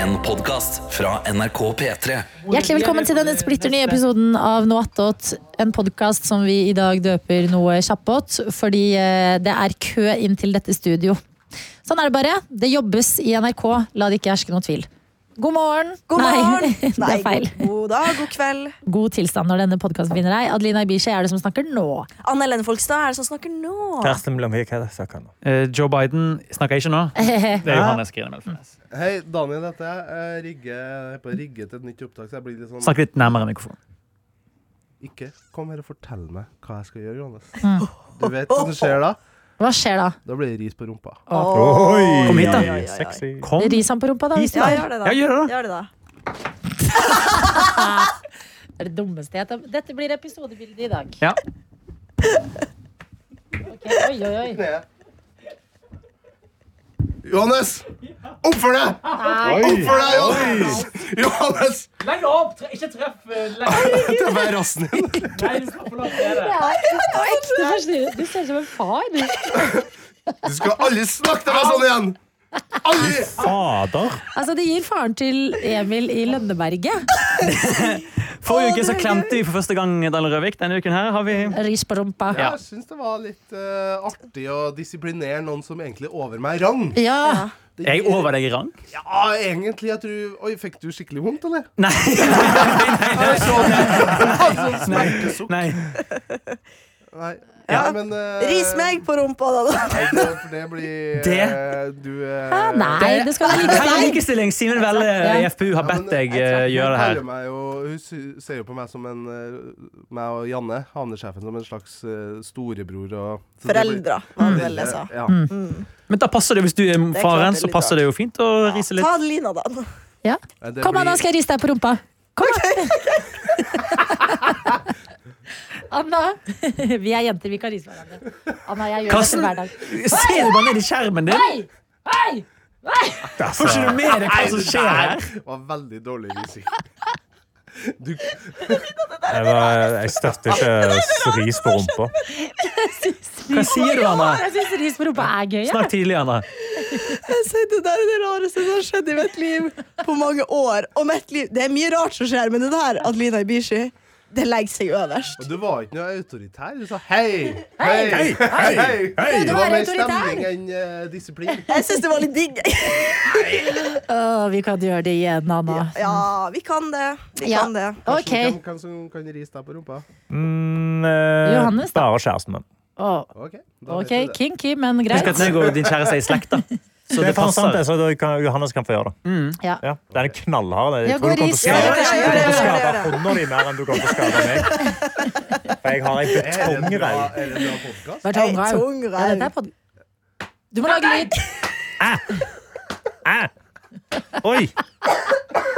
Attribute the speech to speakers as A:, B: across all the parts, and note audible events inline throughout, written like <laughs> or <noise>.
A: En podcast fra NRK P3
B: Hjertelig velkommen til denne splitter nye episoden av Noe attåt. En podkast som vi i dag døper noe kjappåt, fordi eh, det er kø inn til dette studio. Sånn er det bare. Det jobbes i NRK. La det ikke herske noen tvil. God morgen.
C: God
B: Nei,
C: <laughs> morgen!
B: <laughs> det er feil.
C: god- God dag, god kveld.
B: God tilstand når denne podkasten finner deg. Adelina Ibishi er det som snakker nå. <laughs>
C: Anne Helene Folkstad er det som snakker nå.
D: Karsten Blomvik heter snakker nå.
E: Eh, Joe Biden snakker ikke nå. Det er Johannes Grine Melfarnes.
F: Hei, Daniel heter jeg. Jeg rigger, jeg er på å rigge til et nytt opptak, så jeg blir litt sånn
E: Snakk litt nærmere mikrofonen.
F: Ikke kom her og fortell meg hva jeg skal gjøre, Johannes.
E: Mm.
F: Du vet hva som skjer da?
B: Hva skjer da?
F: Da blir det ris på rumpa.
D: Oi!
E: Kom hit, da.
D: Sexy.
E: Kom
B: Ris han på rumpa, da.
E: hit,
B: Hvis
E: da.
C: Ja, gjør det da.
E: Ja, gjør det da.
C: Gjør det da.
B: det er det dummeste jeg tar- Dette blir episodebildet i dag.
E: Ja.
B: Ok, Oi, oi, oi.
F: Ned. Johannes! Oppfør deg! Oppfør deg, Johannes! Johannes!
G: Legg deg opp! Tre, ikke treff eh, legg,
F: Det var rassen din.
G: Nei, du skal få lov til å gjøre det.
B: Du forstyrrer- Du ser ut som en far. Altså, du.
F: Du skal aldri snakke til meg sånn igjen! Aldri!
D: Fader.
B: Altså, det gir faren til Emil i Lønneberget.
E: Forrige uke så klemte vi for første gang Daniel Røvik. Denne uken her har vi
B: Ris på rumpa.
E: Ja.
F: Jeg syns det var litt eh, artig å disiplinere noen som egentlig er over meg i rang.
B: Ja.
F: Det-
E: Er jeg over deg i rang?
F: Ja, egentlig. Jeg tror Oi, fikk du skikkelig vondt, eller?
E: Nei.
F: Jeg så det.
E: Nei.
F: Smertesukk.
E: Nei.
F: Nei.
C: Ja.
F: Nei, men eh,
C: Ris meg på rumpa, da. da.
F: Nei, det, for det blir
E: Det?
F: eh, Du eh,
B: Ah, Nei, det skal være like
E: Hei,
B: sterkt.
E: likestilling! Simen Velle i FPU har
F: ja, men
E: bedt deg eh,
F: hun
E: gjøre det her.
F: kaller Meg jo, hun sy- ser jo på meg som en eh, Meg og Janne, havnesjefen, som en slags eh, storebror og så det blir-
C: Foreldra, var det vel jeg sa.
F: Ja.
E: Men da passer det, hvis du er
C: klart
E: faren,
C: det er
E: så
C: litt
E: passer det jo fint å rise litt.
C: Ta Adelina, <laughs> da.
B: Ja.
F: Nei, det
B: Kom
F: blir-
B: Anna, skal jeg riste deg på rumpa. Kom da. <laughs> Anna, <laughs> vi er jenter, vi kan rise hverandre. Anna, jeg gjør
E: Karsten,
B: dette hver dag.
E: se det bare ned i skjermen din!
B: Hei! Hei!
E: Får ikke du med deg hva som skjer her?
F: Det var veldig dårlig risi. <laughs> Du,
D: Jeg, var, jeg støtter ikke ris på rumpa.
E: Hva sier du, Anna?
B: Jeg syns ris på rumpa er gøy. jeg.
E: Snakk tidlig, Anna.
C: Jeg sier, Det der er det rareste som har skjedd i mitt liv på mange år. Og mitt liv, Det er mye rart som skjer, men det der, Adelina Ibishi, det legger seg øverst.
F: og du var ikke noe autoritær. Du sa hei,
B: Hei,
F: hei, hei. hei.
B: Prøvde
F: Det
B: å
F: var
B: være
F: mer
B: autoritær.
F: stemning enn eh, disiplin.
C: Jeg syns det var litt digg.
B: Å, vi kan gjøre det igjen, Anna.
C: <laughs> Ja, vi kan det. Vi
B: Ja.
C: kan det.
B: Ok.
F: Hvem, hvem som kan rise deg på rumpa?
D: Mm, eh,
B: Johannes, da.
D: Bare kjæresten min.
B: Å,
F: Ok, da
B: Ok,
F: vet du det.
B: kinky, men
E: Husk
B: greit.
E: at meg og din kjæreste er i slekt, da. Så
D: Det
E: det
D: er faen sant,
E: passer.
D: det, så da kan, Johannes kan få gjøre det.
H: Mm.
B: Ja.
D: Ja, Den er knallhard.
B: Ja,
D: Jeg tror
B: gå
D: du kommer til å
B: ris.
D: skade-
C: Ja, ja, ja, ja,
D: du kommer til å
C: ja, ja, ja.
D: skade hånda di mer enn du kommer til å skade meg. For jeg har ei
F: Er det bra,
D: betongreim.
F: er det bra
B: <laughs>
F: podcast?
B: Vær
C: Ei,
B: tungrein. Ja,
C: tungrein.
B: dette er pod- Du må lage lyd.
D: Æ! Oi!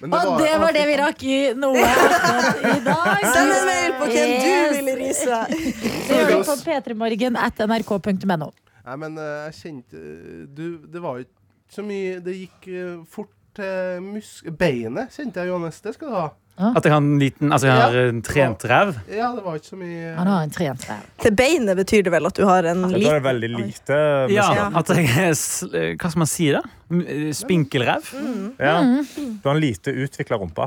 F: Men
B: Og det var det vi rakk i noe attåt i dag.
C: Send en mail på hvem
B: Yes.
C: du ville rise.
B: Følg oss på p3morgen at nrk.no.
F: Nei, men eh, jeg kjente eh, Du, det var jo ikke så mye Det gikk eh, fort til musk... Beinet kjente jeg, Johannes. Det skal du ha.
E: At jeg har en liten, altså jeg har en trent rev.
F: Ja, det var ikke så mye
B: Han har en trent der.
C: Til beinet betyr det vel at du har en
D: Da er
C: liten
D: det veldig lite
E: Ja,
D: muskler.
E: at jeg er, s- eh, hva skal man si da? M- eh, Spinkel rev?
C: Mm.
D: Ja. Du har en lite utvikla rumpe.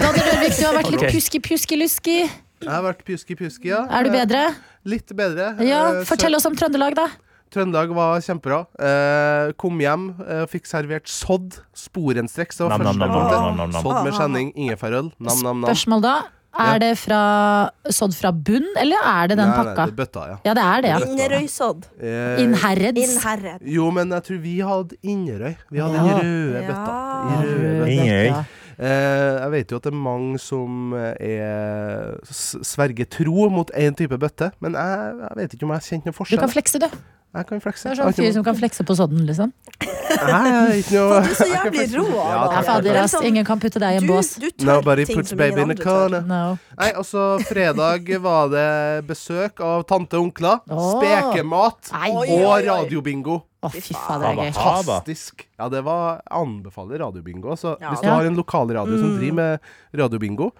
B: Daniel Rørvik, du har vært litt
E: Ok.
B: pjuski-pjuski-luski.
F: Jeg har vært pjuski-pjuski, ja.
B: Er du bedre?
F: Eh, Litt bedre.
B: Ja,
F: Eh,
B: Fortell
F: så-
B: oss om Trøndelag, da.
F: Trøndelag var kjempebra. Eh, kom hjem, eh, fikk servert sodd. Sporenstreks. Det var
D: Nam, nam,
F: første
D: nam,
F: jeg kom til.
D: nam, nam, nam.
F: Sodd med skjenning, ingefærøl. Nam-nam-nam.
B: Spørsmål da. Er det fra, sådd fra bunn, eller er det den pakka?
F: det bøtta, ja.
B: Ja, det er det, ja.
C: innerøysodd.
F: Eh,
B: Inherreds.
C: Innherred.
F: Jo, men jeg tror vi hadde Inderøy. Vi hadde
B: Ja.
F: den røde bøtta.
C: Ja.
F: I røde bøtta.
D: Inderøy.
F: Eh, jeg vet jo at det er mange som eh, er s- sverger tro mot én type bøtte, men jeg, jeg vet ikke om jeg kjenner noen
B: Du
F: forskjell.
B: kan flekse, du.
F: jeg kan flekse.
B: Du er sånn fyr
F: Jeg har
B: som kan flekse på sodden, liksom.
F: ikke noe- Nei, jeg er ikke noe
B: <laughs>
C: Du er så
F: jeg kan
C: jævlig
F: flekse.
C: rå,
F: Ja,
C: Adam.
B: Ja,
F: takk, takk,
B: fader,
F: takk.
B: ass. Ingen kan putte deg i en bås.
C: sånn, Du, du tør
F: Nobody
C: ting
F: puts
C: som ingen
F: baby in
C: andre
F: the
C: tør.
F: corner.
B: No.
F: Nei, og så fredag var det besøk av tante og onkler.
B: Åh.
F: Spekemat
B: Nei.
C: Oi,
F: og
C: oi, oi.
F: radiobingo.
B: Å, fy fader, det er gøy.
D: Haba.
F: Fantastisk. Ja, det var Jeg anbefaler radiobingo. Altså,
C: Ja.
F: hvis du
B: Ja. Mm.
F: har en lokalradio som driver med radiobingo,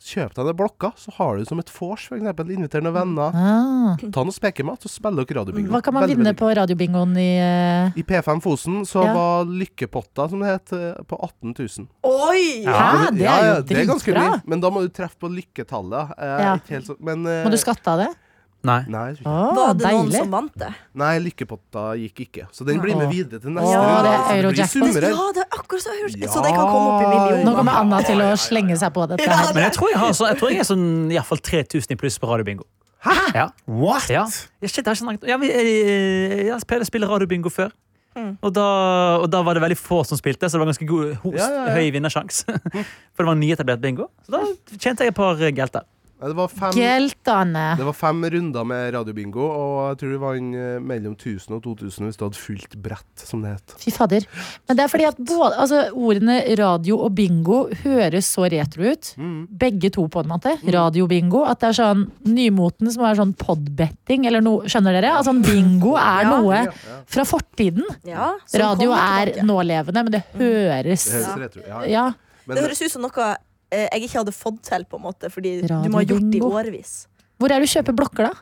F: Kjøp deg den blokka, så har du det som et vors, f.eks. Inviter noen venner.
B: Ah.
F: Ta noe spekemat, så spiller dere radiobingo.
B: Hva kan man
F: Veldig,
B: vinne
F: veldig
B: på radiobingoen i eh,
F: I P5 Fosen så
B: Ja.
F: var lykkepotta, som det het, eh, på 18 000.
C: Oi!
B: Hæ? Ah, Det er jo
F: det er ganske
B: dritbra!
F: mye, men da må du treffe på lykketallet. Eh,
B: Ja.
F: Ikke helt så, men eh,
B: Må du skatte av det?
E: Nei.
F: Nei, jeg tror
B: Å,
F: ikke.
C: Var det noen
B: deilig!
C: som vant det?
F: nei, lykkepotta gikk ikke. Så den blir med
B: Åh.
F: videre til neste
B: Åh, det er
F: Så det blir
B: Eurojackpot.
F: summer
C: Altså,
F: her.
C: Ja, det er akkurat så hørt.
F: Ja.
C: Så det kan komme opp i
B: Nå
C: millioner.
B: kommer Anna til å slenge seg på dette
C: Ja,
B: her.
E: Men jeg tror jeg, har, så, jeg, tror jeg er sånn i hvert fall 3000 i pluss på radiobingo. Hæ? Ja.
D: What?
E: Ja. Ja, Shit, jeg har ikke snakket ja, men, eh, Jeg har spilt- spilt radiobingo før.
C: Mm.
E: Og, da, og da var det veldig få som spilte, så det var ganske god, hos,
F: Ja, ja, ja.
E: høy vinnersjanse. <laughs> For det var nyetablert bingo. Så da tjente jeg et par eh, gelter.
F: Nei, det, var fem,
B: Geltane.
F: det var fem runder med radiobingo, og jeg tror du vant eh, mellom 1000 og 2000 hvis du hadde fullt brett, som det het.
B: Fy fader. Men det er fordi at både, altså, ordene radio og bingo høres så retro ut.
F: Mm.
B: Begge to, på en måte. Radio-bingo. At det er sånn nymoten som er sånn podbetting eller noe. Skjønner dere? Altså, bingo er
C: Ja.
B: noe fra fortiden.
C: Ja, som
B: Radio
C: kommer
B: er
C: tilbake. Mm.
B: nålevende, men det høres
F: Det høres retro ja. ja.
B: Ja.
F: Men
C: Det høres ut som noe eh, jeg ikke hadde fått til, på en måte, fordi du må ha gjort det i
B: Radiobingo.
C: årevis.
B: Hvor er det du kjøper blokker, da?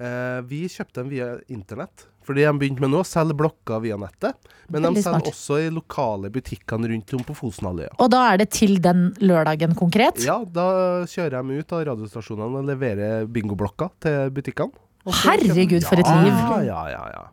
F: eh, vi kjøpte dem via internett. Fordi de begynte med nå å selge blokker via nettet. Men de
B: Veldig
F: selger
B: smart.
F: også i lokale butikkene rundt om på Fosenhalvøya.
B: Og da er det til den lørdagen konkret?
F: Ja, da kjører jeg dem ut av radiostasjonene og leverer bingoblokka til butikkene.
B: Herregud, for et liv!
F: Ja, ja, ja, ja.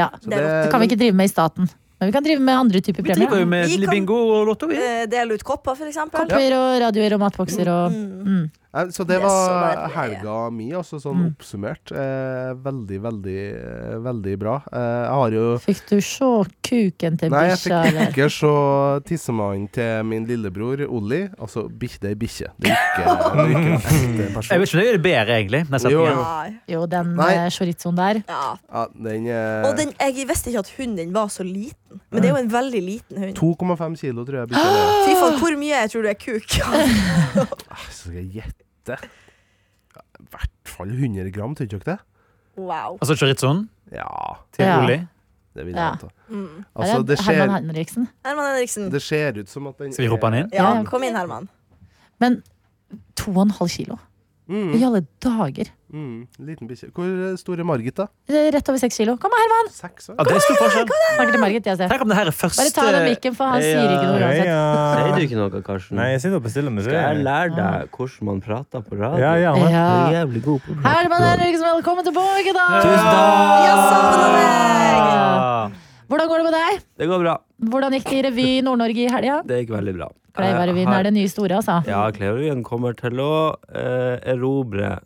B: Ja.
F: Så
C: Det er
B: Det kan vi ikke drive med i staten. Men vi kan drive med andre typer
E: Vi driver
B: premier.
E: jo med
C: Vi kan-
E: bingo og lotto. Vi.
C: Eh, Dele ut kopper, for eksempel. Mm.
B: Kopper og radioer og matbokser og
E: Mm.
B: Mm.
F: Nei, Så
C: Det
F: det
C: er så
F: var
C: verre.
F: helga mi, altså sånn oppsummert. Eh, veldig, veldig, eh, veldig bra. Eh, jeg har jo
B: Fikk du se kuken til
F: Nei, jeg
B: bikkja,
F: fikk
B: eller?
F: ikke se tissemannen til min lillebror Olli. Altså, bik- det er bikkje. Det er ikke, det er
B: <laughs>
F: ikke en ekte
E: Jeg
F: person.
E: vet ikke om det gjør det bedre, egentlig. den
F: Jo,
E: setningen.
F: jo.
C: Nei.
B: Jo, den
F: Nei.
B: eh, chorizoen der.
C: Ja.
F: Ja, den eh, er
C: Og den, jeg visste ikke at hunden var så liten, men det er jo en veldig liten hund.
F: 2,5 kilo, tror jeg. bikkja
B: Ah!
F: er.
C: Fy faen, hvor mye tror du er kuk? <laughs>
F: Ah, Så skal jeg gjette. Ja, I hvert fall 100 gram, tror dere ikke det?
C: Wow.
E: Altså chorizoen
F: Ja,
E: til
B: Ja.
E: Oli.
F: det vil jeg
B: Ja.
F: anta.
B: Her
F: Altså,
B: er
F: det
B: Herman
F: ser,
B: Henriksen.
C: Herman Henriksen.
F: det ser ut som at den
E: Skal vi rope han inn?
C: Ja,
B: Ja.
C: kom inn, Herman.
B: Men 2,5 kilo? I alle dager.
F: Mm, liten bikkje. Hvor stor er Margit, da?
B: Det er Rett over 6 kilo. Kom her, Herman!
F: Seks?
E: Ja, det er stor forskjell.
B: Snakker til Margit, jeg ser.
E: Tenk om det her er første
B: Bare ta av den mikken, for han
E: Ja,
B: sier ikke noe
D: Ja,
B: uansett.
H: Sier
D: ja.
H: du ikke noe, Karsten?
D: eh, Nei, jeg sitter og bestiller musikk.
H: Skal jeg
D: Ja,
H: lære deg hvordan man prater på radio?
D: gjerne.
H: Du er
B: Ja.
H: jævlig god på å prate.
B: Herman Henriksen, velkommen tilbake, da!
E: Tusen takk!
C: Ja, savner deg!
H: Ah.
B: Hvordan går det med deg?
H: Det går bra.
B: Hvordan gikk det i revy Nord-Norge i helga?
H: Det gikk veldig bra.
B: Kleivarevyen
H: Jeg har-
B: er det nye store, altså.
H: Ja, Kleverøyen kommer til å eh, erobre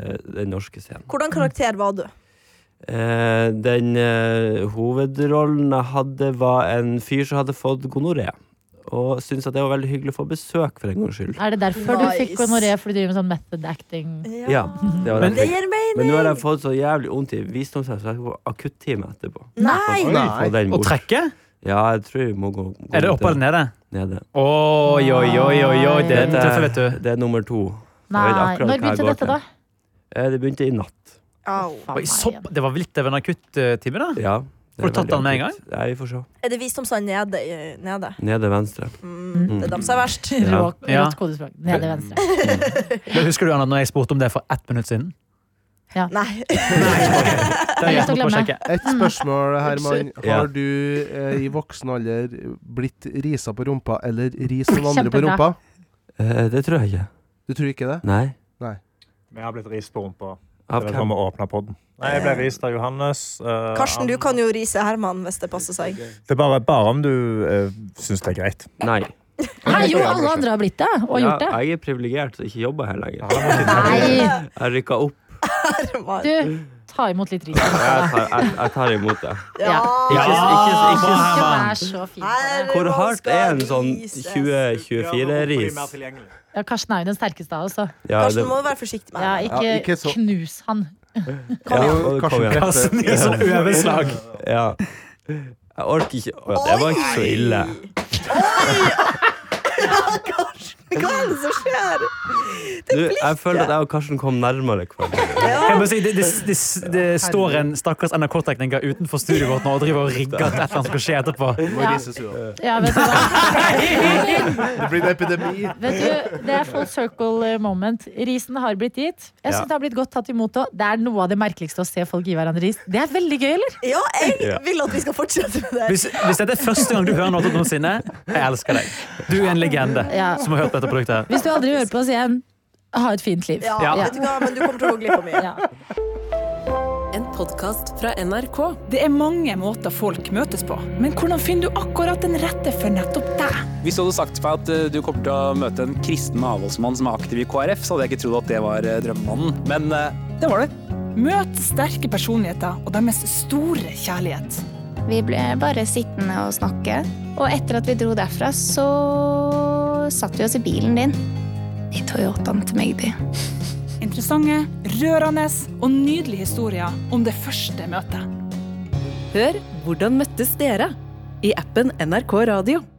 H: eh, den norske scenen.
C: Hvordan karakter var du?
H: Eh, den eh, hovedrollen jeg hadde, var en fyr som hadde fått gonoré. Og syntes at det var veldig hyggelig å få besøk, for en gangs skyld.
B: Er det derfor du fikk
C: Nice.
B: gonoré, for du driver med sånn method acting?
H: Ja, det var
C: Det
H: derfor.
C: gir
H: Men
C: mening!
H: nå har jeg fått så jævlig vondt i visdomshuset, så jeg skal på akuttime etterpå.
C: Nei!
H: Få den
E: Og
H: bort.
E: trekke?
H: Ja, jeg tror vi må gå, gå
E: Er det oppe eller nede?
H: nede.
E: Oi, oi, oi, oi, oi. Det er den tøffe, vet du.
H: Det er nummer to.
B: Nei.
H: Jeg vet
B: Når
H: akkurat hva jeg
B: begynte
H: går
B: dette, da?
H: Eh, Det begynte i natt.
C: Au.
B: Faen,
E: Oi,
B: nei,
E: så,
B: igjen.
E: det var litt av en akuttime, da.
H: Ja.
E: Får
H: det
E: du
H: er
E: tatt
H: veldig
E: den med en
H: akutt. Nei, vi får se.
C: Er det visdomsand nede? i- nede?
H: Nede venstre.
C: Mm. Det er dem som er verst.
H: Ja.
B: Rå-
E: Ja.
B: Rått kodespråk. Nede venstre.
E: Men Husker du Anna, når jeg spurte om det for ett minutt siden?
C: Nei.
B: <laughs>
E: Det er
B: lett
E: greit
B: å
E: nok å
B: glemme.
E: sjekke.
F: Et spørsmål, Herman.
H: Ja.
F: Har du eh, i voksen alder blitt risa på rumpa, eller ris noen andre på
B: Kjempebra.
F: rumpa?
H: Eh, Det tror jeg ikke.
F: Du tror ikke det?
H: Nei.
D: Vi har blitt rist på rumpa.
H: Av
D: Det er sånn
H: hvem?
D: vi åpnet podden. Nei, jeg ble rist av Johannes. eh,
C: Karsten, du
D: han-
C: kan jo rise Herman hvis det passer seg.
D: Det er bare, bare om du uh, syns det er greit.
H: Nei.
B: Nei, jo, alle andre har blitt det og
H: Ja,
B: gjort det.
H: jeg er privilegert som ikke jobber her lenger.
B: Nei,
H: Jeg rykka opp.
C: Herman.
B: du, ta imot litt ris.
H: Jeg tar, jeg, jeg tar imot det.
C: Ja.
H: Ikke, ikke, ikke,
B: Ikke vær så fin. på det.
H: hvor
C: Herman
H: hardt er en
C: skal
H: sånn
C: rises.
H: 2024-ris?
B: Ja, Karsten er jo den sterkeste av oss, så
H: Ja,
C: Karsten
H: det,
C: du må jo være forsiktig med
B: ja,
C: Herman.
F: Ja,
B: ikke
F: ikke så-
B: knus han.
H: ja, og kom igjen.
E: Karsten i sånn øveslag.
H: Ja. Jeg orker ikke Å, Det var ikke så ille.
C: Karsten, Hva er det som skjer?
H: Du, jeg føler at jeg og Karsten kom nærmere hverandre.
E: Jeg må si, det, det, det, det står en stakkars NRK-tekniker utenfor studioet vårt nå og driver og rigger til et eller annet skal skje etterpå.
F: Må
B: Ja.
F: rises jo.
B: Ja, vet du hva?
F: Det blir en epidemi.
B: Vet du, det er full circle eh, moment. Risen har blitt gitt. Jeg syns
H: Ja.
B: det har blitt godt tatt imot òg. Det er noe av det merkeligste å se folk gi hverandre ris. Det er veldig gøy, eller?
C: Ja, jeg
H: Ja.
C: vil at vi skal fortsette med det.
E: Hvis, hvis dette er første gang du hører noe noensinne, jeg elsker deg. Du er en legende
B: Ja.
E: som har hørt dette produktet. her.
B: Hvis du aldri hører på oss igjen, ha et fint liv.
C: Ja,
E: Ja.
C: vet du hva, men du kommer til å gå glipp av mye.
B: Ja.
I: En podkast fra NRK.
J: Det er mange måter folk møtes på, men hvordan finner du akkurat den rette for nettopp deg?
K: Hvis du hadde sagt til meg at eh, du kommer til å møte en kristen avholdsmann som er aktiv i KrF, så hadde jeg ikke trodd at det var eh, drømmemannen. Men eh, det var det.
J: Møt sterke personligheter og deres store kjærlighet.
I: Vi ble bare sittende og snakke. Og etter at vi dro derfra, så satt vi oss i bilen din. I Toyotaen til meg, de.
J: Interessante, rørende og nydelige historier om det første møtet.
I: Hør Hvordan møttes dere? i appen NRK Radio.